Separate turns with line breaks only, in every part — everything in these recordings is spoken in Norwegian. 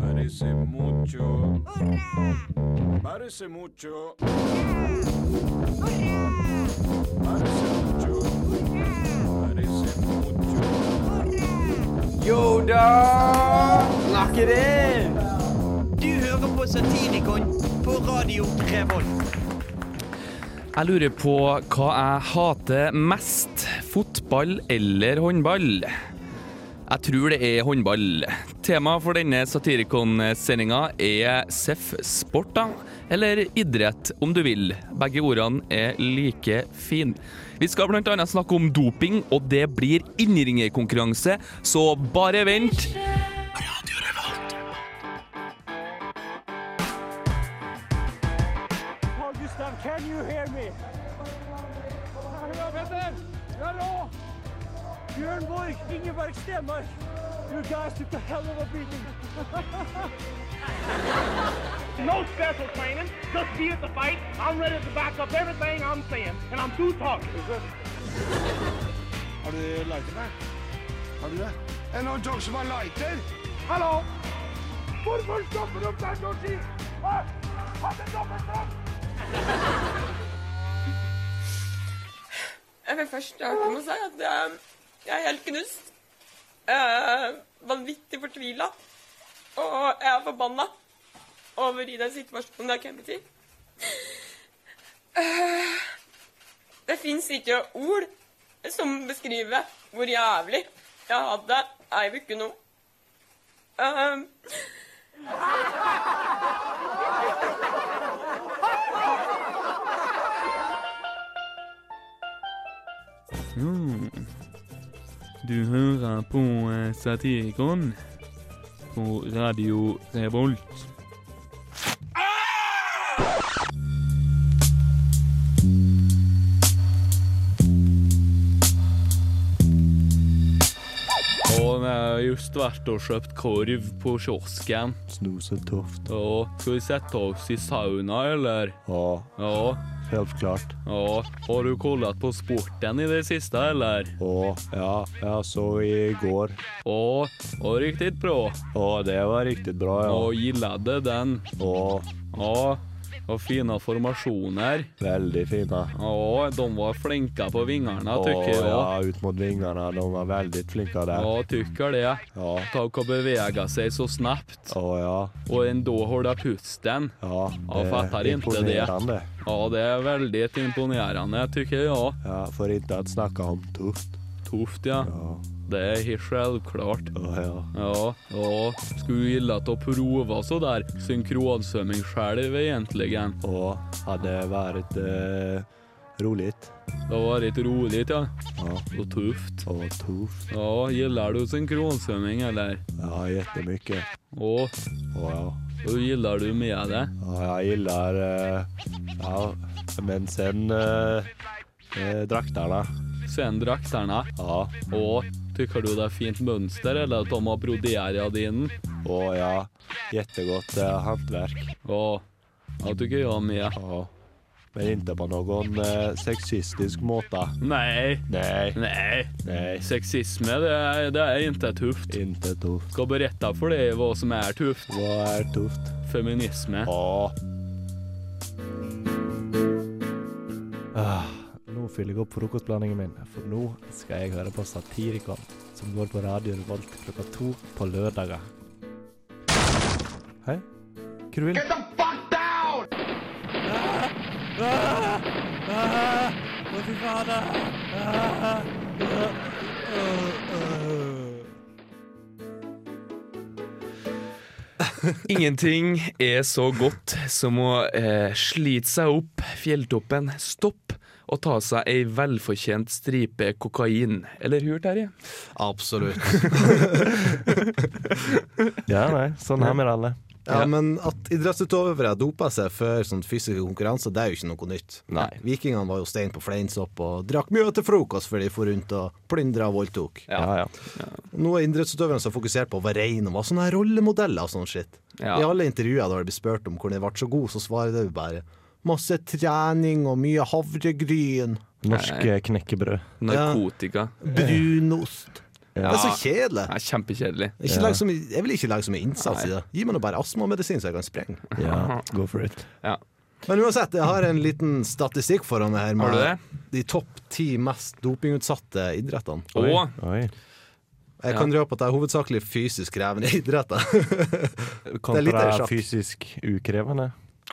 Parece mucho,
¡Hurra!
parece mucho,
¡Hurra!
parece mucho, parece mucho.
Yo da! Snakker inn!
Du hører på Satirikon på Radio Revolt.
Jeg lurer på hva jeg hater mest. Fotball eller håndball? Jeg tror det er håndball. Temaet for denne Satirikon-sendinga er SEF sport, da. Eller idrett, om du vil. Begge ordene er like fine. Vi skal bl.a. snakke om doping, og det blir innringerkonkurranse, så bare vent.
No special training. Just be at the fight. I'm ready to back up everything I'm saying, and I'm through talking.
Har du lighter der? Har du det? Er det noen dog som har lighter?
Hallo! Hvorfor stopper du der, Georgie? Hva? Hva er det dobbeltstraff?
Jeg vil først starte med å si at jeg, jeg er helt knust. Jeg er vanvittig fortvila. Og jeg er forbanna over i den situasjonen jeg har kommet i. Eh, Det fins ikke ord som beskriver hvor jævlig jeg hadde ei uke nå. Eh,
Hmm. Du hører på eh, Satirikon på Radio Revolt. Og vi har just vært og kjøpt korv på kiosken.
Snosetofte.
Og skal vi sette oss i sauna, eller?
Ja,
Ja.
helt klart.
ja. Har du kollet på sporten i det siste, eller?
Å, ja, jeg så i går.
Å, å, riktig bra.
Å, det var riktig bra, ja.
Og gillet det den.
Å,
Ja, og fine formasjoner.
veldig fine.
Ja, de var flinke på vingene,
Å,
tykker jeg.
ja,
Ja,
ut mot vingene. De var veldig flinke der.
ja tykker det.
Ja.
Takk og beveger seg så snapt.
Å, ja.
Og en da holder pusten.
Ja,
Ja,
det
fatter
er
ikke det.
imponerende.
Ja, det er veldig imponerende, tykker jeg. Ja.
Ja, for ikke at snakke om tufft.
Tøft, ja.
Ja,
Det er helt selvklart.
å, ja.
Ja, ja. Skulle gille til å prøve så der synkronsvømming selv, egentlig. Det
Og hadde vært eh, rolig
var litt rolig, ja.
ja,
Og tøft.
og tufft.
Ja, gillar du synkronsvømming, eller?
Ja, jettemykke.
Å,
Og ja,
og gillar du med det?
ja jeg gillar eh, Ja, men sen eh, eh, drakterna.
Sen drakterne.
Ja,
Og tykker du det er fint mønster, eller at de har brodera din?
og ja, jettegodt eh, handverk.
Å, ja, tykker jeg med.
Ja. Men ikke på noen eh, sexistisk måte.
Nei,
Nei,
nei.
nei,
Sexisme, det er, det er ikke tøft.
ikke tufft.
Skal berette for deg hva som er tøft.
Hva er tufft?
Feminisme.
Ja. Ah, nå fyller jeg opp frokostblandingen min, for nå skal jeg høre på Satirikon, som går på Radio Revolt klokka to på lørdager. Hei? Hva du vil? Get the
Ingenting er så godt som å eh, slite seg opp fjelltoppen, stoppe og ta seg ei velfortjent stripe kokain. Eller hur, Terje?
Absolutt.
Ja, nei, sånn har vi det alle.
Ja, Men at idrettsutøvere dopa seg før sånn fysiske konkurranser, det er jo ikke noe nytt.
Nei.
Vikingene var jo stein på fleinsopp og drakk mye til frokost før de for rundt og plyndra og voldtok.
Ja, ja.
Nå er idrettsutøverne som fokusert på å være rein og var sånne her rollemodeller og sånn shit.
Ja.
I alle intervjuer da det blir spurt om hvordan de ble så god, så svarer de bare masse trening og mye havregryn,
Norske knekkebrød.
Narkotika.
brunost Det er så kjedelig.
Det er kjempekjedelig.
Ikke lag så mye, jeg vil ikke lage så mye innsats i det. Gi meg nå bare astmamedisin, så jeg kan sprenge.
Ja, go for it.
Ja.
Men uansett, jeg har en liten statistikk foran meg her.
Har du det?
de topp ti mest dopingutsatte idrettene.
Og
Oi.
Jeg kan røpe at det er hovedsakelig fysisk krevende idretter. litt av
Kontra
sjakk.
fysisk ukrevende.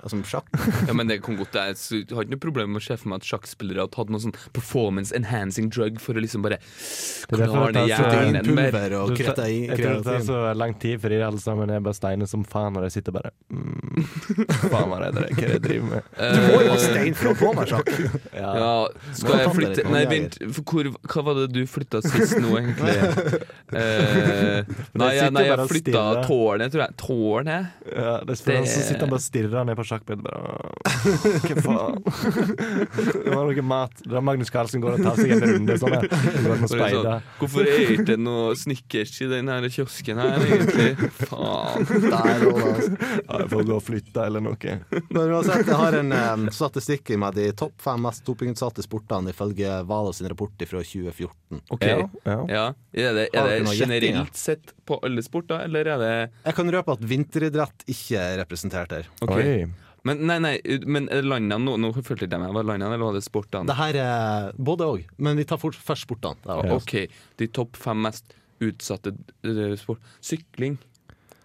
Som sjakk.
Ja, men det kan godt Jeg s- har ikke noe problem med å se for meg at sjakkspillere har tatt noe sånn performance enhancing drug for å liksom bare
er derfor
klare det
det tar så-
hjernen mer.
Pulver og
Jeg tror
kreatin.
det tar
kreatin.
så lang tid, fordi alle sammen er bare steine som faen, og de sitter bare mm, Faen, hva er det hva er det jeg driver med?
Du må jo ha stein for å få altså. meg sjakk!
Ja.
Eh, Ja, skal jeg
Hva faen er
flytte
det?
Nei, vent. for Hvor, hva var det du flytta sist nå, egentlig? Eh, nei, ja,
sitter
nei, jeg
bare og
flytta
stirrer.
tårnet, tror jeg. Tårnet?
Ja, det er spennende. Så sitter han bare og stirrer ned på sjakkbrettet. bare, Hva faen? Det var noe mat. Det er Magnus Carlsen går og tar seg en runde sånn her. Så Går han og
Bare sånn,
speider.
hvorfor er det ikke noe snickers i den her kiosken her, egentlig? Faen.
Der, og da.
Ja, jeg får gå og flytte eller noe.
Men uansett, jeg har en em, statistikk i meg. De topp fem mest dopingutsatte sportene ifølge Valo sin rapport fra 2014.
OK.
Ja, ja.
Ja. Er det, er
Har dere
det
noe gjetting, ja?
generelt sett på alle sporter, eller er det
Jeg kan røpe at vinteridrett ikke er representert her.
Ok.
Oi.
Men, nei, nei, men er det landene nå, nå følte jeg ikke meg. Var det landene eller var det sportene?
Det her er både òg, men vi tar fort, først sportene. Der, var det.
Ok, de topp fem mest utsatte eh, sport. Sykling.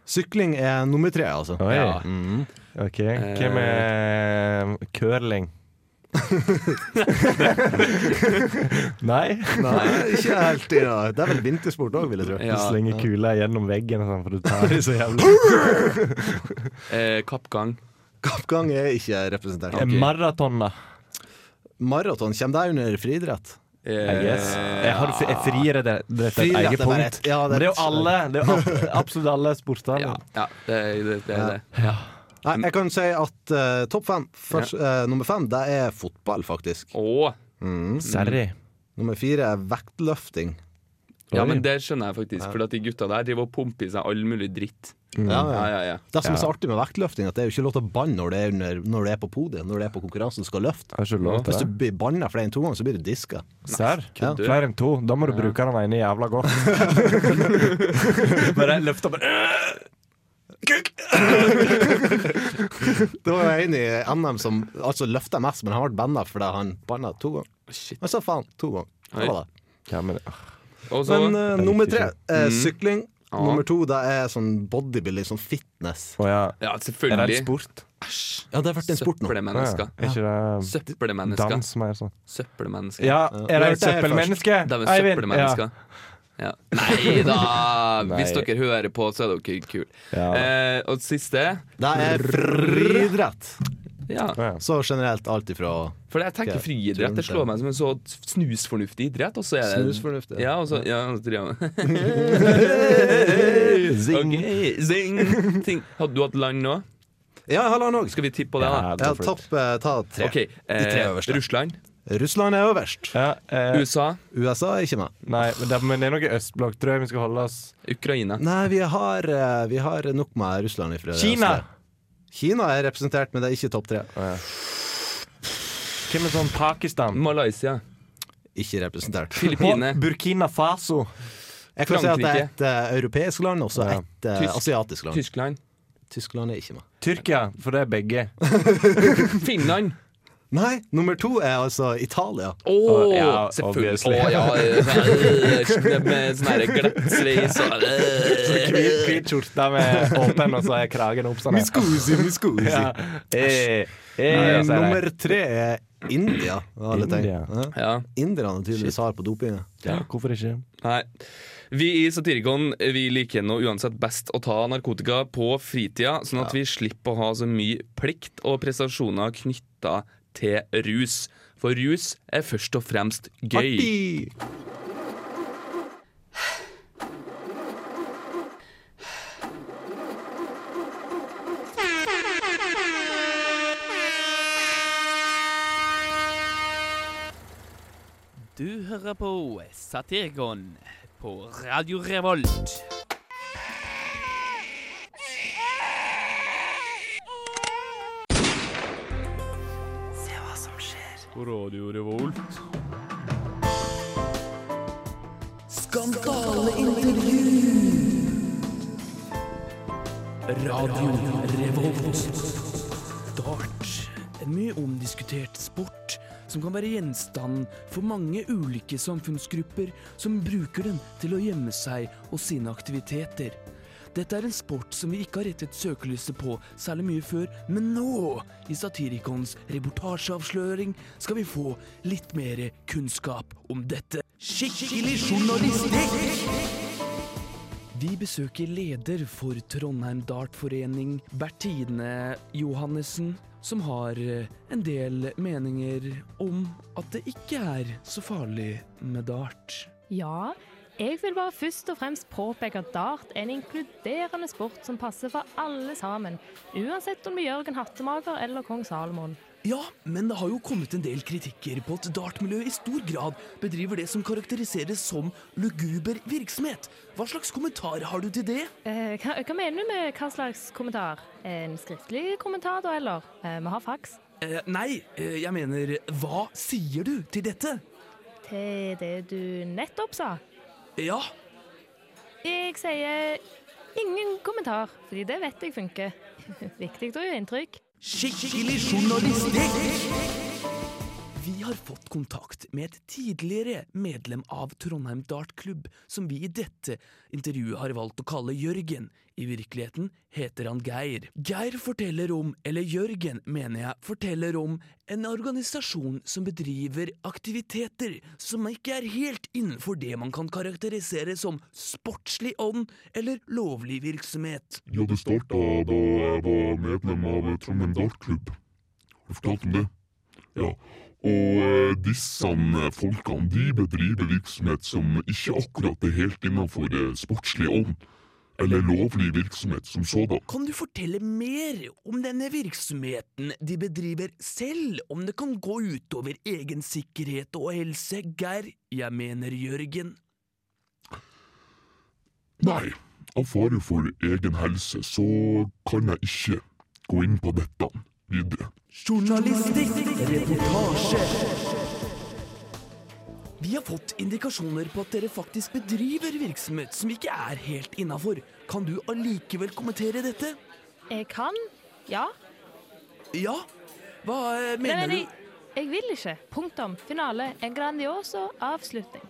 Sykling er nummer tre, altså.
Oi.
Ja.
OK. Hvem er um, curling? Nei?
Nei, ikke helt i dag. Det er vel vintersport òg, vil jeg tro.
Du
Ja,
slenger kula gjennom veggen, og sånn, for du tar det så jævlig.
eh, kappgang.
Kappgang er ikke representert.
En Eh, Maraton, da.
Maraton, kommer det under friidrett?
Eh,
Yes. Jeg har fri- jeg frier det det er et
Friidrett
eget
er bare
punkt.
et- ja, det er
Men det er jo
et-
alle. Det er jo ab- absolutt alle sportene.
ja, ja, det er det. det, er det.
Nei, jeg kan si at eh, topp fem, først, eh, nummer fem, det er fotball, faktisk. Mm.
Å,
Serry.
Nummer fire er vektløfting.
ja, men det skjønner jeg faktisk, for at de gutta der driver og pumper i seg all mulig dritt.
Mm.
Mm.
Ja,
Ja, ja, ja.
Det som er så artig med vektløfting, er at det er jo ikke lov til å banne når det er, under, når det er på podiet, når det er på konkurransen du skal løfte.
Har ikke lov
Hvis
til
du
det.
blir banna flere enn to ganger, så blir du diska.
Serr?
Ja.
Flere enn to. Da må du bruke den ene jævla godt. Bare løfte opp
Det var jo en i NM som altså løfta mest, men han ble banna fordi han banna to ganger.
Shit.
Men så faen, to ganger. Det var det.
ja, men, ah.
Og så Mm.
Men eh, nummer tre er sykling.
Ja.
Nummer to det er sånn bodybuilding, sånn fitness.
Å ja.
Ja,
Er det
selvfølgelig.
en sport?
Ja, det har vært en sport nå.
Å ja.
Søppelmennesker.
Er ikke det
Søppelmennesker.
dans mer sånn?
Søppelmennesker.
Ja, er det
hørte
et
det her
Det
søppelmenneske?
er vel
Eivind?
søppelmennesker. Ja. Nei da! Hvis
Nei.
dere hører på, så er dere kule.
Ja.
Eh, og siste
Det er friidrett.
ja.
Ja.
Så generelt alt ifra
For jeg tenker
Ok,
friidrett det slår meg som en så snusfornuftig idrett. Og så er det
snusfornuft.
ja, og så, ja, og så driver jeg med
Zing.
Ok, Zing! Ting. Hadde du hatt land nå?
Ja, jeg har land òg.
Skal vi tippe på det, da?
Ja,
Ja,
go for it.
topp, eh, ta tre.
OK.
tre
Eh,
øverste.
Russland.
Russland er øverst.
Ja, eh,
USA.
USA er ikke med.
nei, men det, men det er noe østblokk, tror jeg vi skal holde oss
Ukraina.
Nei, vi har, eh, vi har nok med Russland. Ifra det
Kina!
østlige. Kina er representert, men det er ikke topp tre.
Hvem er sånn Pakistan?
Malaysia.
Ikke representert.
Filippinene.
Å, Burkina Faso.
Jeg kan si at det er
Frankrike.
et eh, europeisk land og så
Ja.
et eh,
Tysk-
asiatisk land.
Tyskland.
Tyskland er ikke med.
Tyrkia, for det er begge.
Finland.
Nei, nummer to er altså Italia.
Å,
ja,
selvfølgelig.
obviously.
Å, ja, eh, sånn- med sånn her glattsveis og eh.
Hvit hvit skjorte med åpen, og så er kragen opp sånn. her. Ja. Eh, eh,
Eh,
så er
nummer
det-
tre er India. av Alle ting.
India.
Ja.
Ja.
Inderne tydeligvis har på dopinget.
Ja, hvorfor ikke?
Nei. Vi i Satirikon vi liker nå uansett best å ta narkotika på fritida, sånn at vi slipper å ha så mye plikt og prestasjoner knytta til rus. For rus er først og fremst gøy.
Artig!
Du hører på Satirikon på Radio Revolt. Radio Revolt. Dart. En mye omdiskutert sport som kan være gjenstand for mange ulike samfunnsgrupper som bruker den til å gjemme seg og sine aktiviteter. Dette er en sport som vi ikke har rettet søkelyset på særlig mye før, men nå, i Satirikons reportasjeavsløring, skal vi få litt mer kunnskap om dette. Skikkelig journalistikk! Vi besøker leder for Trondheim Dartforening, Bertine Johannessen, som har eh, en del meninger om at det ikke er så farlig med dart.
Ja, jeg vil bare først og fremst påpeke at dart er en inkluderende sport som passer for alle sammen, uansett om du er Jørgen Hattemager eller kong Salomon.
Ja, men det har jo kommet en del kritikker på at dartmiljøet i stor grad bedriver det som karakteriseres som luguber virksomhet. Hva slags kommentar har du til det?
Eh, hva, hva mener du med hva slags kommentar? En skriftlig kommentar da, eller? Eh, vi har fax.
Eh, nei, eh, jeg mener, hva sier du til dette?
Til det du nettopp sa.
Ja,
Jeg sier ingen kommentar, fordi det vet jeg funker. Viktig å gjøre inntrykk.
Skikkelig journalistikk! Vi har fått kontakt med et tidligere medlem av Trondheim Dartklubb, som vi i dette intervjuet har valgt å kalle Jørgen. I virkeligheten heter han Geir. Geir forteller om, eller Jørgen mener jeg, forteller om en organisasjon som bedriver aktiviteter som ikke er helt innenfor det man kan karakterisere som sportslig ånd eller lovlig virksomhet.
Ja, det starta da jeg var medlem av Trondheim Dartklubb. Har du fortalt om det? Ja. Og eh, disse eh, folkene de bedriver virksomhet som ikke akkurat er helt innenfor eh, sportslig ånd, eller lovlig virksomhet som sådan.
Kan du fortelle mer om denne virksomheten de bedriver selv, om det kan gå utover egen sikkerhet og helse, Geir, jeg mener Jørgen?
Nei, av fare for egen helse så kan jeg ikke gå inn på dette videre.
Journalistikk, reportasje. Vi har fått indikasjoner på at dere faktisk bedriver virksomhet som ikke er helt innafor. Kan du allikevel kommentere dette?
Jeg kan, ja.
Ja? Hva eh,
Nei,
mener
nei,
du?
jeg vil ikke. Punktum. Finale. En grandioso avslutning.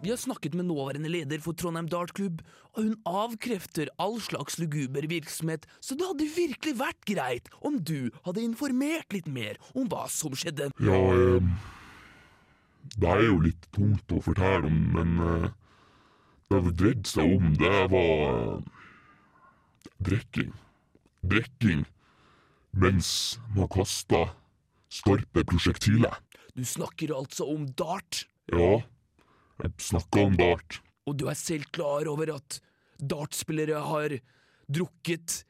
Vi har snakket med nåværende leder for Trondheim Dartklubb, og hun avkrefter all slags luguber virksomhet, så det hadde virkelig vært greit om du hadde informert litt mer om hva som skjedde.
Ja, eh, det er jo litt tungt å fortelle om, men eh, det det dreide seg om, det var eh, drikking. Drikking mens man kasta skarpe prosjektiler.
Du snakker altså om dart,
Ja, jeg snakka om dart.
og du er selv klar over at dartspillere har drukket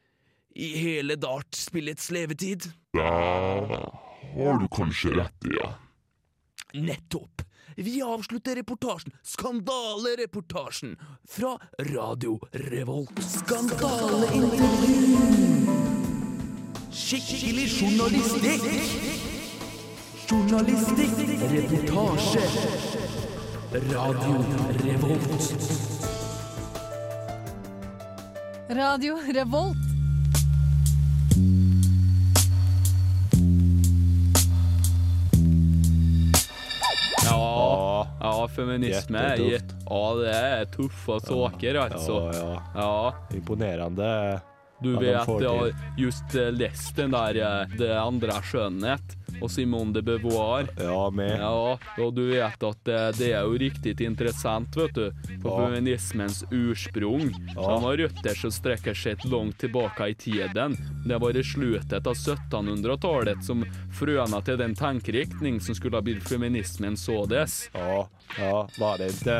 i hele dartspillets levetid?
Det har du kanskje rett i, ja.
Nettopp! Vi avslutter reportasjen, skandalereportasjen, fra Radio Revolt. Skandaleintervju! Skikkelig journalistikk! Journalistikk, reportasje. Radio Revolt.
Radio Revolt.
Ja, ja feminisme ja,
Jättetufft.
Det er tuffe saker, altså.
Ja, ja.
Ja,
Imponerende.
Du
Ja, de
vet
får
jeg
det.
har just eh, lest den der eh, Det andre er skjønnhet og Simone de Beauvoir.
Ja, med.
Ja, og du vet at eh, det er jo riktig interessant, vet du. For
Ja.
feminismens ursprung. Den har røtter som strekker seg langt tilbake i tiden. Det var i slutten av 1700-tallet som frøna til den tenkeriktning som skulle ha blitt feminismen sådes.
Ja, ja. Var det ikke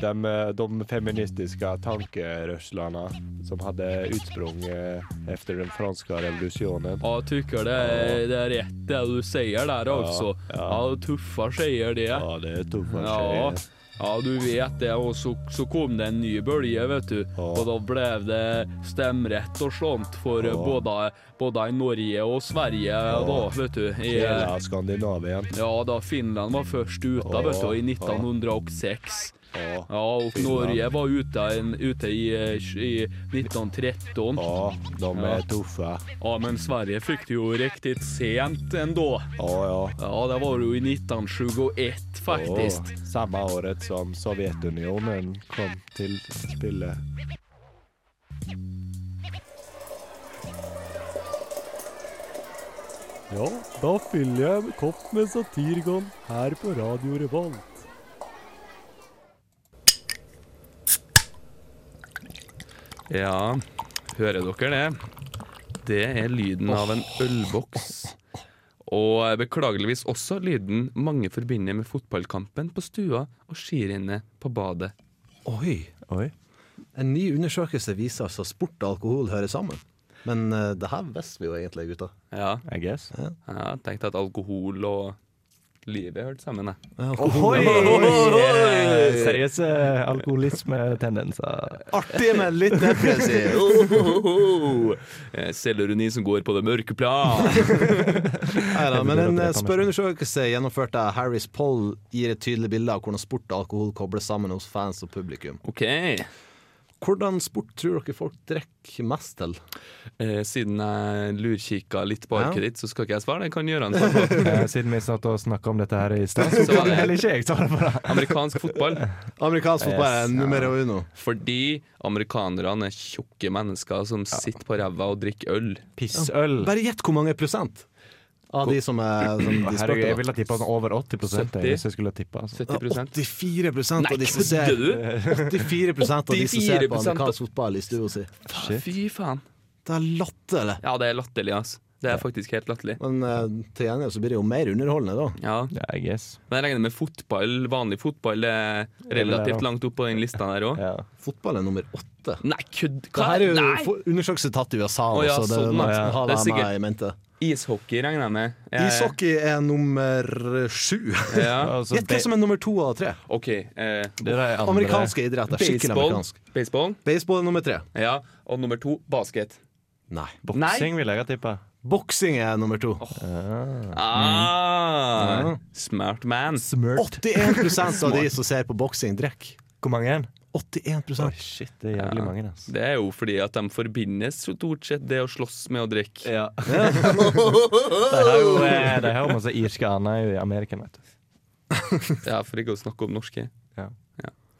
de, eh, de feministiska tankerörslarna som hade utsprung eh, efter den franska revolutionen.
Ja, jag tycker det är, det är rätt det du säger där också. Ja, tuffa tjejer det.
Ja, det är tuffa
Ja.
tjejer.
Ja, du vet det. Och så, så kom det en ny bölje, vet du. Och då blev det stemrett och sånt for
Ja.
både, både i Norge og Sverige da, vet du. I,
Hela Skandinavien.
ja, da Finland var først ute,
Ja,
vet du, i
ja.
1906.
Ja,
og
Finland.
Norge var ute, ute i, i 1913.
Ja, de är tuffa.
Ja, men Sverige fikk det jo riktig sent ändå.
Ja, ja.
Ja, det var jo i 1921 faktisk.
Ja, samma året som Sovjetunionen kom till spille.
Ja, da fyller jeg en kopp med Satirgon her på Radio Revolt.
Ja, hører dere det? Det er lyden av en ølboks. Og beklageligvis også lyden mange forbinder med fotballkampen på stua og skirennet på badet.
Oi. En ny undersøkelse viser altså at sport og alkohol hører sammen. Men eh, det her visste vi jo egentlig, gutta.
Ja.
I guess.
Ja. jeg tenkte at alkohol og livet hørte sammen, jeg.
Ohoi!
Ohoi!
Seriøse
eh,
alkoholismetendenser.
Artig, men litt depressiv.
Ohoho! Eh, Selvironi som går på det mørke plan.
Neida, men en eh, spørreundersøkelse gjennomført av Harris Poll gir et tydelig bilde av hvordan sport og alkohol kobles sammen hos fans og publikum.
Ok
Hvordan sport tror dere folk drikker mest til?
Eh, siden jeg lurkikka litt på
Ja.
arket ditt, så skal ikke jeg svare. Det kan Gøran svare på.
Eh, Siden vi satt og snakka om dette her i stad,
Så
så
var
kan
det-
heller ikke jeg svare på det.
Amerikansk fotball.
Amerikansk fotball er Yes. numero uno.
Fordi amerikanerne er tjukke mennesker som sitter på ræva og drikker øl.
Ja, Bare gjett hvor mange prosent av de som er som de spurte,
Herregud,
da.
jeg ville tippa over 80 jeg,
70.
hvis jeg skulle tippe. Altså.
84 prosent av de som
Nei,
ser
kødder du?
84 av de som ser på
84% av-
amerikansk fotball i stua si.
Fy faen.
Det er latterlig.
Ja, det er latterlig, altså. Det er faktisk helt latterlig.
Men eh, til gjengjeld så blir det jo mer underholdende, da.
Ja. Men jeg regner med fotball, vanlig fotball er
det er det.
relativt langt opp på den lista der òg.
Fotball er nummer åtte.
Nei, kødd!
Det her er jo
Nei!
for- undersøkelse tatt i USA,
Å, ja,
så det
sånn,
må
ja.
ha
Det
det
er
med
sikkert-
i mente.
Ishockey regner jeg med. Eh,
Ishockey er nummer sju.
Ja.
Altså,
Gjett hva som er nummer to av tre.
OK. Eh,
andre. Amerikanske idretter, skikkelig
Baseball.
amerikansk.
Baseball.
Baseball er nummer tre.
Ja, Og nummer to basket.
Nei.
Boksing
vil jeg ha Mm. tippa.
Boksing er nummer to.
Ah,
Mm.
Smart man.
81 av de som ser på boksing, drikker.
Hvor mange er
81
Shit, det er jævlig mange. Altså.
Det er jo fordi at de forbinder stort sett det å slåss med å drikke.
Ja. De har jo, eh, de har jo masse irske aner i Amerika, vet du.
ja, for ikke å snakke om norske.
Ja.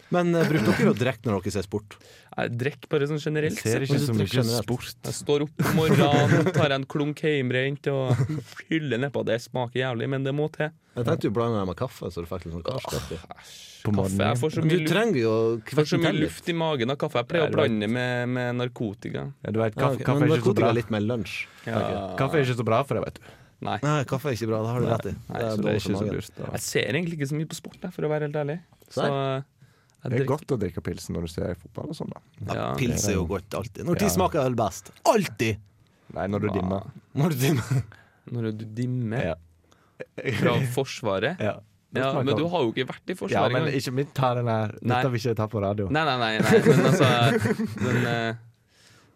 Men uh, bruker dere å drikke når dere ser sport?
Jeg drikker bare sånn generelt.
Jeg ser
sett.
ikke så mye sport.
Jeg står opp om morgenen, tar en klunk hjemmebrent og fyller nedpå. Det smaker jævlig, men det må til.
Jeg tenkte jo blande det med kaffe, så du fikk litt sånn karskaffe.
Kaffe. Jeg får så mye,
Du
luft-
trenger jo
får så
kvetten
mye
til litt.
luft i magen av kaffe. Jeg pleier
Ja,
å
du
blande det med, med narkotika.
Ja, du vet,
Ja,
kaffe,
ok,
kaffe er ikke
men
så
narkotika
bra.
er litt mer lunsj.
Ja.
Kaffe er ikke så bra for deg, vet du.
Nei.
Nei, kaffe er ikke bra. Det har du rett i.
Nei,
Det er
så det
dårlig
er
for
ikke så
magen.
lurt. Jeg ser egentlig ikke så mye på sport, jeg, for å være helt ærlig. Så
Nei.
jeg
Det er
drikker-
godt å drikke pils når du ser fotball og sånn, da.
Ja.
Pils er jo godt alltid. Når
Ja.
tid smaker øl best? Alltid!
Nei, når du dimmer.
Når du dimmer.
Når du dimmer fra Forsvaret?
Ja. Det
Ja,
smaker
men du
godt.
har jo ikke vært i
Ja,
Forsvaret
men
engang.
ikke mitt ta den her.
Nei.
Dette vil ikke jeg ta på radio.
Nei, nei, nei, nei, men altså Men, eh,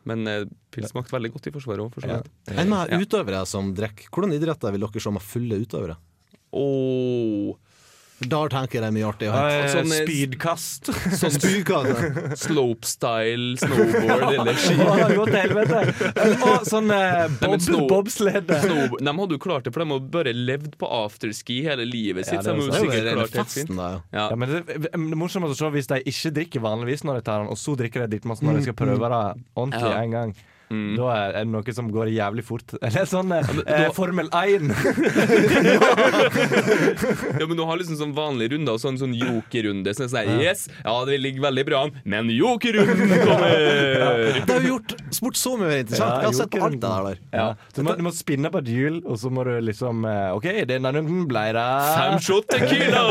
men eh, pils smakte veldig godt i Forsvaret òg, for så vidt.
Enn med utøvere som drikker? Hvordan idretter vil dere se med fulle utøvere?
Oh.
Da tenker jeg det er mye artig. å
Eh,
høre.
sånn, eh,
Spydkast.
Sånn
Spydkast, ja.
Slopestyle, snowboard eller ski.
Å, det har gått til helvete! Og sånn eh,
Nei, men
bob,
snow-
bobslede.
snow- De hadde jo klart det, for de har bare levd på afterski hele livet sitt. så
Ja, det
de
er
har jo
sant. Det er jo
sikkert
rene
klart helt
festen
fint.
da, ja.
Ja.
Ja, men det, det er morsomt å se hvis de ikke drikker vanligvis når de tar den, og så drikker de drittmasse når de skal prøve det ordentlig
Ja. Mm.
en gang.
Da er er det noe som går jævlig fort. Eller sånn eh,
da-
eh, Formel 1.
Ja, men du har liksom sånn vanlige runder og sånn, sånn jokerrunde. Sånn, sånn, yes, ja, det ligger veldig bra an, men jokerrunden kommer!
Det har jo gjort sport så mye mer interessant. Jeg har sett på alt det der. der.
Ja. Du, må, du må spinne på et hjul, og så må du liksom eh, OK, denne runden ble det
Fem shot tequila!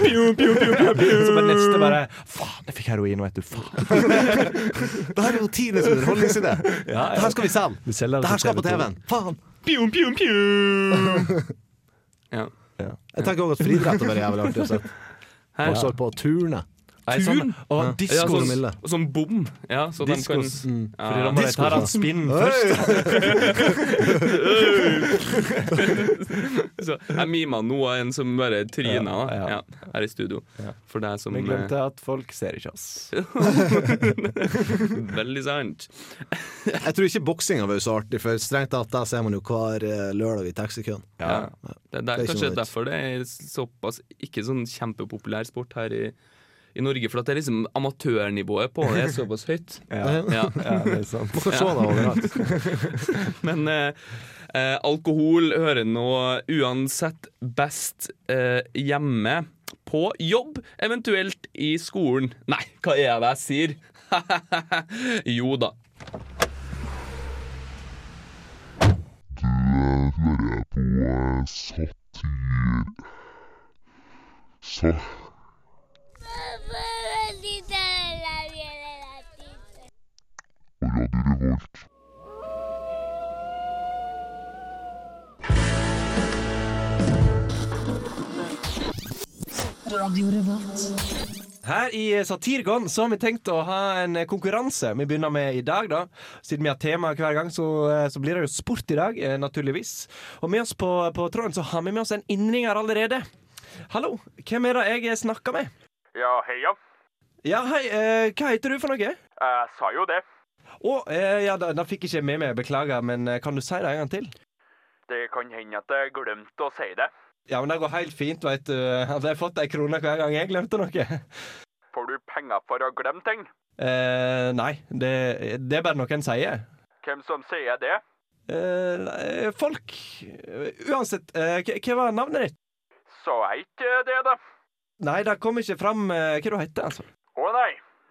Piu, piu, piu, piu, piu.
Så på neste bare Faen, jeg fikk heroin, vet du. Faen.
Det her er jo tidenes underholdningsidé.
Ja, ja.
Det her skal vi selge.
Vi selger
Det her skal på
TV2.
TV-en. Faen!
Piu, piu, piu. Ja.
Jeg tenker også at friidrett hadde vært jævlig artig å se.
Hæ?
Folk står på turne.
Nei, sånn- og
Ja.
diskos.
Ja, sånn-
Og sånn bom. Ja, så de kan
Diskos. Mm. Fordi da må de ta den spinnen
først. så jeg mima nå av en som bare tryna da. ja, her i studio. For deg som
Men jeg
eh,
glemte at folk ser ikke oss.
Veldig sant.
Jeg tror ikke boksinga var så artig, for strengt tatt der ser man jo hver eh, lørdag i taxikøen.
Ja. Det er der,
Det er ikke
kanskje
noe nytt.
derfor det er såpass ikke sånn kjempepopulær sport her i, i Norge. For at det er liksom amatørnivået på det er såpass høyt.
Ja. Ja, det er sant. Man kan se det
Men eh, eh, alkohol hører nå uansett best eh, hjemme, på jobb, eventuelt i skolen. Nei, hva er det jeg sier? jo da.
Du hører på eh, satir... Sa...
Radio Revolt.
Her i eh, Satirgon så har vi tenkt å ha en eh, konkurranse. Vi begynner med i dag, da. Siden vi har tema hver gang, så, så blir det jo sport i dag, eh, naturligvis. Og med oss på, på tråden så har vi med oss en innringer allerede. Hallo, hvem er det jeg eh, snakker med?
Ja, heia.
Ja, hei, eh, hva heter du for noe?
Jeg sa jo det.
Å, eh, ja, da, da fikk jeg ikke med meg, beklager, men eh, kan du si det en gang til?
Det kan hende at jeg glemte å si det.
Ja, men det går helt fint, veit du. At jeg har fått ei krone hver gang jeg glemte noe.
Får du penger for å glemme ting?
Eh, nei, det, det er bare noe en sier.
Hvem som sier det?
Eh, nei, folk eh, Uansett, eh, hva hva var navnet ditt?
Sa jeg ikke det, da?
Nei, det kom ikke fram eh, hva du heter, altså.
Å nei.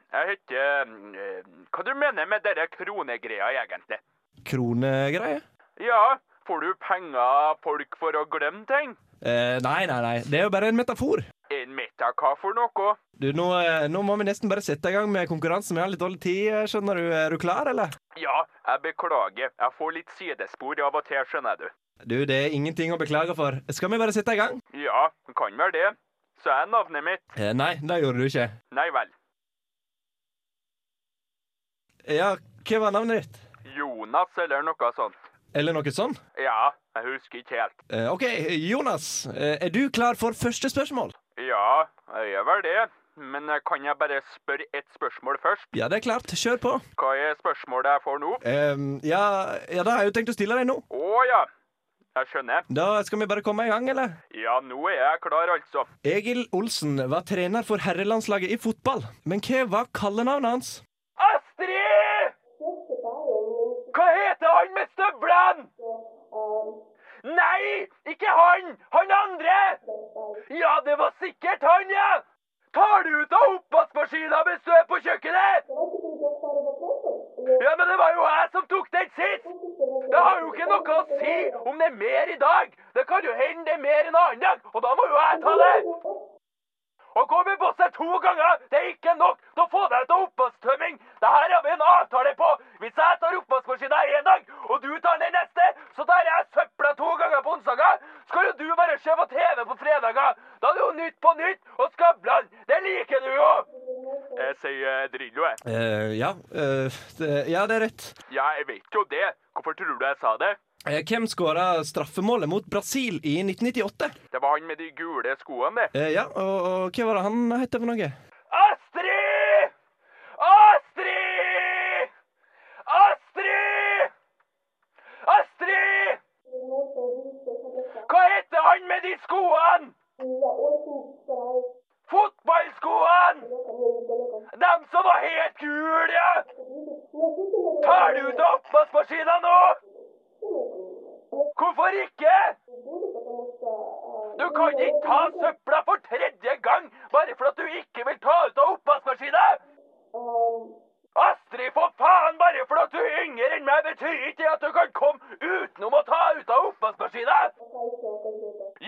Jeg heter mm, eh, Hva du mener med dere kronegreia, egentlig?
Kronegreie?
Ja, får du penger av folk for å glemme ting?
Eh, nei, nei, nei. Det er jo bare en metafor.
En meta hva for noe?
Du, nå, eh, nå må vi nesten bare sette i gang med konkurransen. Vi har litt dårlig tid, eh, skjønner du. Er du klar, eller?
Ja, jeg beklager. Jeg får litt sidespor av og til, skjønner du.
Du, det er ingenting å beklage for. Skal vi bare sette i gang?
Ja, kan vel det. Så er navnet mitt.
Eh, nei, det gjorde du ikke.
Nei vel.
Ja, hva var navnet ditt?
Jonas eller noe sånt.
Eller noe sånn?
Ja, jeg husker ikke helt.
Eh, OK, Jonas. eh, er du klar for første spørsmål?
Ja, jeg er vel det. Men eh, kan jeg bare spørre ett spørsmål først?
Ja, det er klart. Kjør på.
Hva er spørsmålet jeg får nå?
Eh, ja, ja, da har jeg jo tenkt å stille deg nå.
Å ja, jeg skjønner.
Da skal vi bare komme i gang, eller?
Ja, nå er jeg klar, altså.
Egil Olsen var trener for herrelandslaget i fotball. Men hva var kallenavnet hans?
Astrid! Hva heter han med støvlene? Nei, ikke han! Han andre! Ja, det var sikkert han, ja! Tar du ut av oppvaskmaskina med støv på kjøkkenet? Ja, men det var jo jeg som tok den sist! Det har jo ikke noe å si om det er mer i dag. Det kan jo hende det er mer en annen dag, og da må jo jeg ta det. Å gå med bosset to ganger, det er ikke nok til å få deg til oppvasktømming. Det her har vi en avtale på. Hvis jeg tar oppvaskmaskina én dag, og du tar den neste, så tar jeg søpla to ganger på onsdager. Skal jo du bare se på TV på fredager. Da er det jo Nytt på Nytt og Skavlan. Det liker du jo. Jeg sier Drillo, jeg.
Eh, ja, eh, det, ja, det er rett.
Ja, jeg vet jo det. Hvorfor tror du jeg sa det?
Eh, hvem skåra straffemålet mot Brasil i 1998?
Det var han med de gule skoene, det.
Eh, ja, og, og hva var det han het for noe?
Astrid! Astrid! Astrid! Astrid! Hva heter han med de skoene? Fotballskoene! Dem som var helt gule! Tar du ut av oppvaskmaskinen nå? Hvorfor ikke? Du kan ikke ta søpla for tredje gang bare for at du ikke vil ta ut av oppvaskmaskinen! Astrid, for faen! Bare fordi at du er yngre enn meg, betyr ikke det at du kan komme utenom å ta ut av oppvaskmaskinen!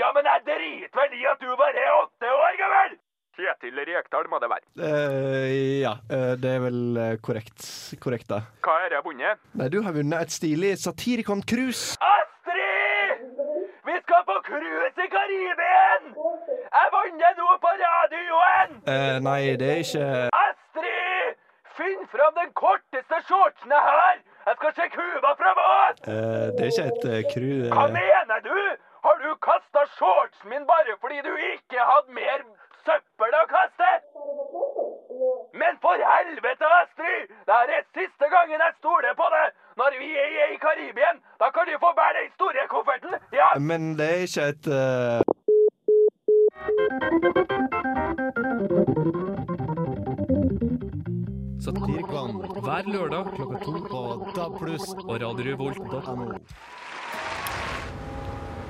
Ja, men jeg driter vel i at du bare er åtte år gammel! Kjetil Rekdal må det være.
Eh, ja, eh, det er vel eh, korrekt. Korrekt, da.
Hva har jeg vunnet?
Nei, du har vunnet et stilig Satirikon-krus.
Astrid! Vi skal på cruise i Karibien! Jeg vant nå på radioen!
Eh, nei, det er ikke
Astrid! Finn fram den korteste shortsen jeg har! Jeg skal sjekke huva fra båt!
eh, Det er ikke et eh, kru... eh,
Hva mener du? Har du kasta shortsen min bare fordi du ikke hadde mer søppel å kaste? Men for helvete, Astrid! Det her er siste gangen jeg stoler på deg! Når vi er i Karibien, da kan du få bære den store kofferten! Ja,
Men det er ikke et eh,
Satirikon
hver lørdag klokka
to på DAB+.
og radiorevolt.no.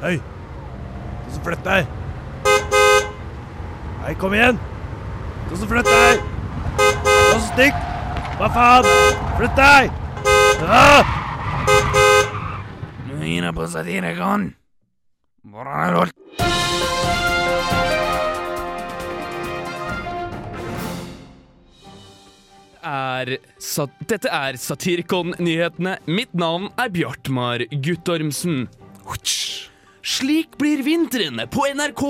Hei! Du som flytter deg! Hei, kom igjen! Du som flytter deg! Du som stikk! Hva faen? Flytt deg! Ja!
Nå gir jeg på Satirikon. Hvordan er det alt?
er sat Dette er Satirikon-nyhetene. Mitt navn er Bjartmar Guttormsen. Slik blir vinteren på NRK.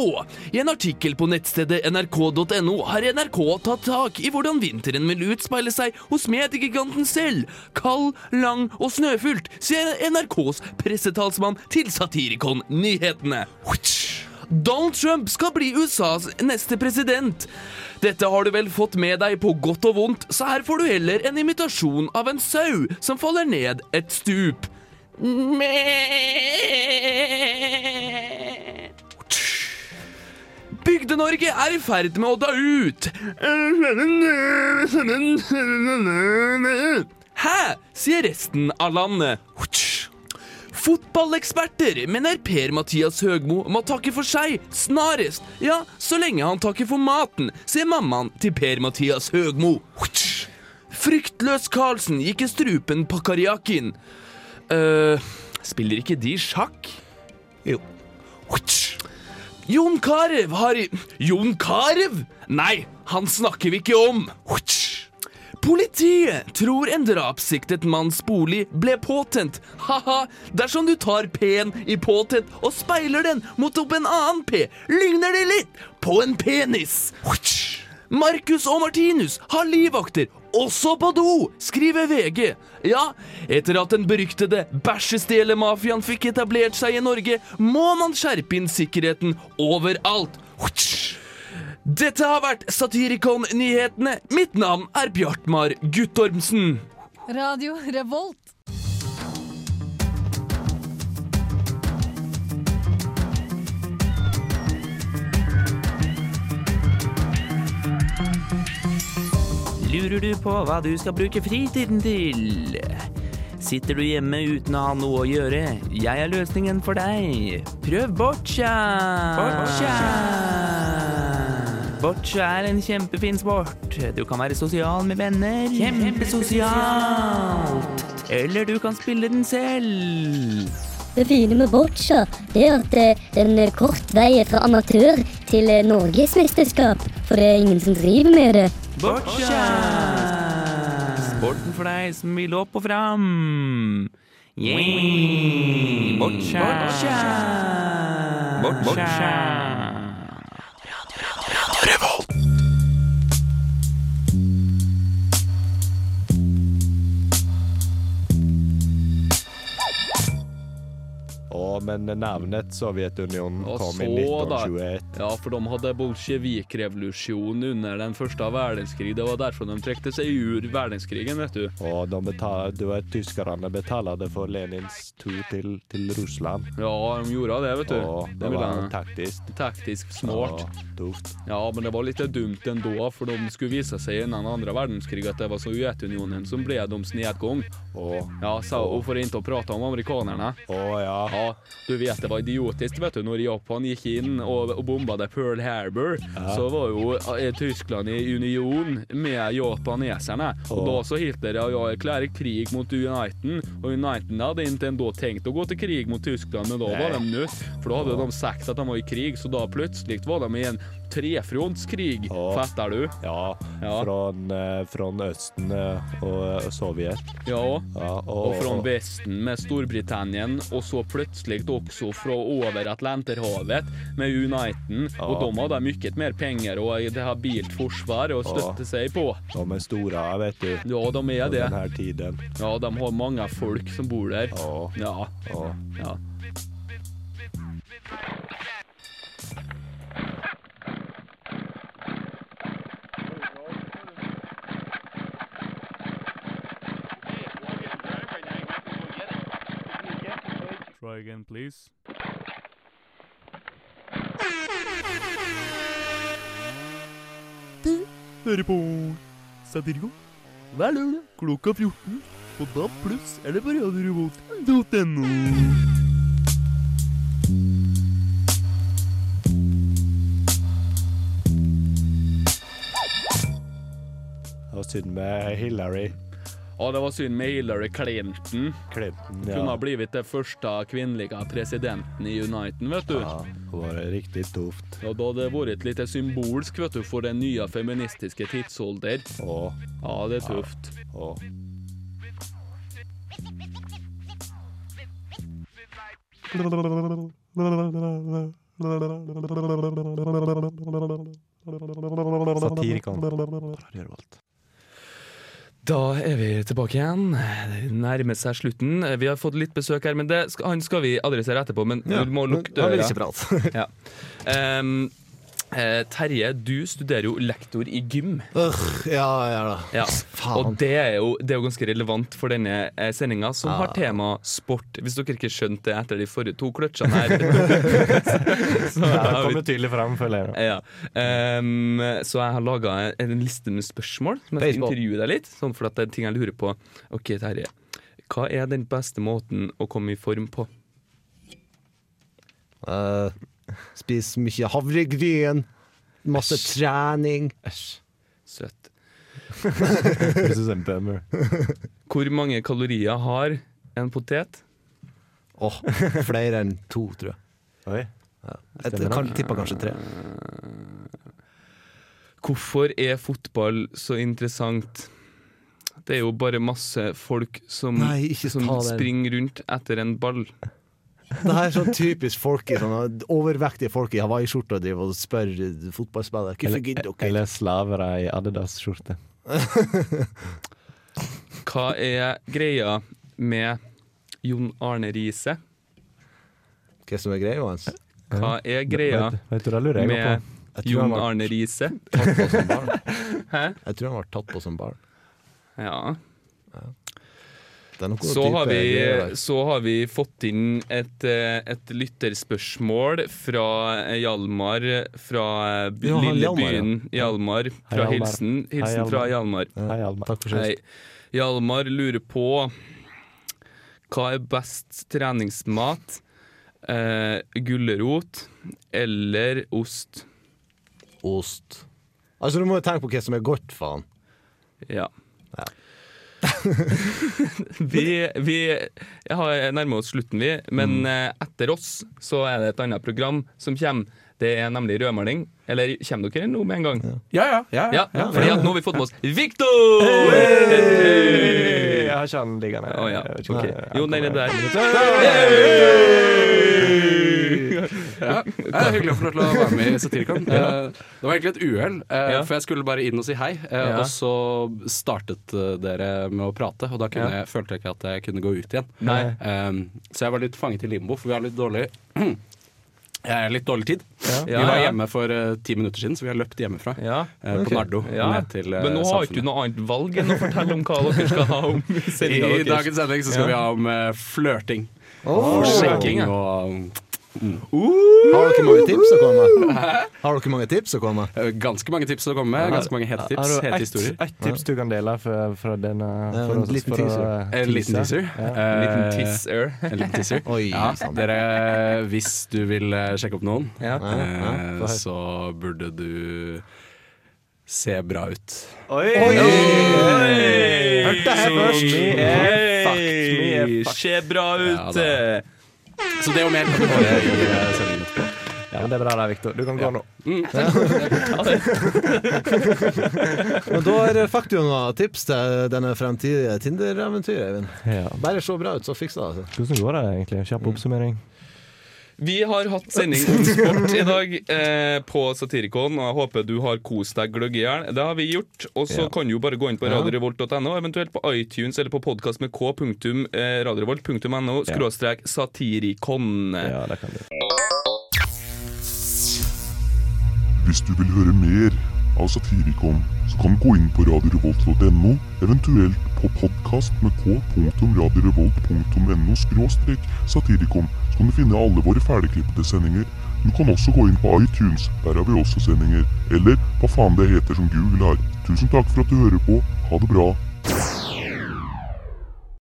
I en artikkel på nettstedet nrk.no har NRK tatt tak i hvordan vinteren vil utspeile seg hos mediegiganten selv. Kald, lang og snøfullt, sier NRKs pressetalsmann til Satirikon Nyhetene. Donald Trump skal bli USAs neste president. Dette har du vel fått med deg på godt og vondt, så her får du heller en imitasjon av en sau som faller ned et stup. Bygde-Norge er i ferd med å da ut. Hæ? sier resten av landet. Fotballeksperter mener Per-Mathias Høgmo må takke for seg snarest. Ja, så lenge han takker for maten, sier mammaen til Per-Mathias Høgmo. Fryktløs Karlsen gikk i strupen på Karjakin. eh, spiller ikke de sjakk? Jo. Jon Carew har i Jon Carew? Nei, han snakker vi ikke om. Politiet tror en drapssiktet manns bolig ble påtent. Ha-ha, dersom du tar P-en i påtent og speiler den mot opp en annen P, ligner det litt på en penis. Marcus og Martinus har livvakter, også på do, skriver VG. Ja, etter at den beryktede bæsjestelemafiaen fikk etablert seg i Norge, må man skjerpe inn sikkerheten overalt. Dette har vært Satirikon-nyhetene. Mitt navn er Bjartmar Guttormsen.
Radio Revolt.
Lurer du på hva du skal bruke fritiden til? Sitter du hjemme uten å ha noe å gjøre? Jeg er løsningen for deg. Prøv boccia! Boccia! Boccia er en kjempefin sport. Du kan være sosial med venner. Kjempesosialt! Eller du kan spille den selv.
Det fine med boccia det er at eh, den er kort vei fra amatør til eh, norgesmesterskap. For det er ingen som driver med det.
Boccia! Sporten for deg som vil opp og fram. Yeah. Boccia! Boccia! Boccia!
Og men navnet Sovjetunionen
Og
kom i
så da,
1921.
ja, for de hadde bolsjevikrevolusjonen under den første verdenskrig. Det var derfor de trekte seg ur verdenskrigen, vet du.
Og de betal, du vet, tyskerne betalte for Lenins tur til, til Russland.
Ja, de gjorde det, vet du.
Å, det
De ville-
var taktisk.
Taktisk smart.
Å, dumt.
Ja, men det var litt dumt ändå, for de skulle vise seg innan andre verdenskrig at det var Sovjetunionen som ble deres nedgang. Ja, sa hun for ikke å prate om amerikanerne.
ja.
Du vet, det var idiotisk, vet du, når Japan gikk inn og, og bombade Pearl Harbor, så var jo eh, Tyskland i union med japaneserne. Og
Å.
da så Hitler ja, ja, erklære krig mot Uniten, og Uniten hadde ikke enda tenkt å gå til krig mot Tyskland, men da var de nødt, for da hadde de sagt at de var i krig, så da plutselig var de i en trefrontskrig, fatter du?
Ja, fra, eh, fra Østen eh, og eh, Sovjet.
Ja, og fra
og-
Vesten med Storbritannien, og så plutselig også fra over Atlanterhavet med Uniten, og de hadde mye mer penger og et habilt forsvar å støtte seg på.
De er store, vet du.
Ja, de er
På
det.
denne tiden.
Ja, de har mange folk som bor der. Ja. ja.
Try again, please. Du hører på Satirico hver lørdag klokka 14 på DAB pluss eller på radiorobot.no.
Det var synd med Hillary.
Ja, det var synd med Hillary Clinton.
Clinton,
Kunne ha blivit den første kvinnelige presidenten i Uniten, vet du.
Ja, det var riktig tøft.
Ja, da hadde det vært litt symbolsk, vet du, for den nye feministiske tidsalder. Ja, det er tøft.
Ja.
Satirikon.
Da er vi tilbake igjen. Det nærmer seg slutten. Vi har fått litt besøk her, men det skal, han skal vi adressere etterpå. Men
Ja,
du må lukke
han vil
døra.
ikke prate.
ja. Em, eh, Terje, du studerer jo lektor i gym.
ja, ja da.
Ja. Og det er, jo, det er jo ganske relevant for denne eh, sendinga, som har tema sport. Hvis dere ikke skjønte det etter de forrige to kløtsjene her så
Ja, det
har vi-
kommer tydelig fram, føler jeg.
ja. Ehm, så jeg har laga en, en liste med spørsmål. Som jeg skal
Baseball.
intervjue deg litt Sånn for at det er ting jeg lurer på. Ok, Terje. Hva er den beste måten å komme i form på?
Eh, spis mye havregryn. Masse trening.
Søtt.
This is a bummer.
Hvor mange kalorier har en potet?
Åh, flere enn to, tror jeg.
Oi.
Ja. Jeg, jeg kan tippe kanskje tre.
Hvorfor er fotball så interessant? Det er jo bare masse folk som,
Nei, ikke
som
ta den.
springer rundt etter en ball.
Det her er sånn typisk folk i sånne overvektige folk i hawaiiskjorte og driver og spør fotballspillere Hvorfor gidder dere?
Eller slavere i Adidas-skjorte.
Hva er greia med Jon Arne Riise?
Hva som er greia hans?
Hva er greia
Vet- vet du, det lurer jeg
med
på. Jeg tror han
Jon
var-
Arne Riise?
Tatt på som barn. Jeg tror han ble tatt på som barn.
Ja.
Det er noe
Så har,
type greier
vi,
der.
så har vi fått inn et, eh, et lytterspørsmål fra eh, Hjalmar fra eh, by-
Ja, han
lille
Hjalmar, ja.
byen Hjalmar.
Hei,
Fra
Hjalmar.
hilsen,
Hei,
hilsen fra Hjalmar.
Hjalmar. Ja, Hei, Hjalmar. takk for sist.
Hei. Hjalmar lurer på hva er best treningsmat? Eh, gulrot eller ost?
Ost. Altså, du må jo tenke på hva som er godt, faen.
Ja. vi, vi har nærmer oss slutten, vi. Men eh, etter oss så er det et annet program som kommer. Det er nemlig rødmaling. Eller kommer dere nå med en gang?
Ja, ja. ja,
fordi at nå har vi fått med oss Viktor! Hey!
jeg har ikke han liggende.
Å ja.
Jeg vet ikke om
Ok.
jeg-
Jo, den er der.
Ja, det er hyggelig å få lov til å være med i Satirikon. Eh, Det var egentlig et uhell, eh,
Ja.
for jeg skulle bare inn og si hei. eh,
Ja.
Og så startet eh, dere med å prate, og da kunne
Ja.
jeg, følte jeg ikke at jeg kunne gå ut igjen.
Nei.
Eh, så jeg var litt fanget i limbo, for vi har litt dårlig Jeg har litt dårlig tid. Vi
Ja,
var
ja.
hjemme for eh, ti minutter siden, så vi har løpt hjemmefra. eh,
ok.
På Nardo.
Ja.
Ned til eh,
Men nå har
Samfunnet.
ikke du noe annet valg enn å fortelle om hva dere skal ha om sendinga
I
deres.
dagens sending så skal
Ja.
vi ha om eh, flørting.
Oh.
Og sjekking
Flørting, ja.
og mm.
Har dere mange tips å komme med? Har dere mange tips å komme
med? Ganske mange tips å komme med. Ganske mange hete tips.
Har du
Hete
ett-
historier.
Ett tips du kan dele fra, fra denne?
Ja,
for
en
oss-
liten
for å-
teaser. En liten teaser.
Ja.
Eh, En liten teaser. ja, dere, hvis du vil eh, sjekke opp noen,
Ja.
eh,
Ja, ja, få høre.
så burde du se bra ut.
Oi! Hørte her først.
Vi er fucked. Vi er fucked.
Ser bra ut.
Ja,
eh.
Så det og mer kan du få i eh, sendingen etterpå.
Ja, men Det er bra, det, Victor. Du kan gå nå.
Men da er faktisk noen tips til denne fremtidige Tinder-eventyret, Eivind. Bare se bra ut, så fikser det altså. seg.
Hvordan går det egentlig? Kjapp oppsummering.
Vi har hatt sending om sport i dag eh, på Satirikon, og jeg håper du har kost deg gløgg i hjel. Det har vi gjort. Og så
Ja.
kan du jo bare gå inn på
Ja.
radiorevolt.no, eventuelt på iTunes eller på podkast med eh, k.radiorevolt.no skråstrek satirikon. Ja,
det kan du.
Hvis du vil høre mer av Satirikon, så kan du gå inn på radiorevolt.no, eventuelt på podkast med k.radiorevolt.no skråstrek satirikon, så kan du finne alle våre ferdigklippede sendinger. Du kan også gå inn på iTunes, der har vi også sendinger. Eller hva faen det heter som Google har. Tusen takk for at du hører på. Ha det bra.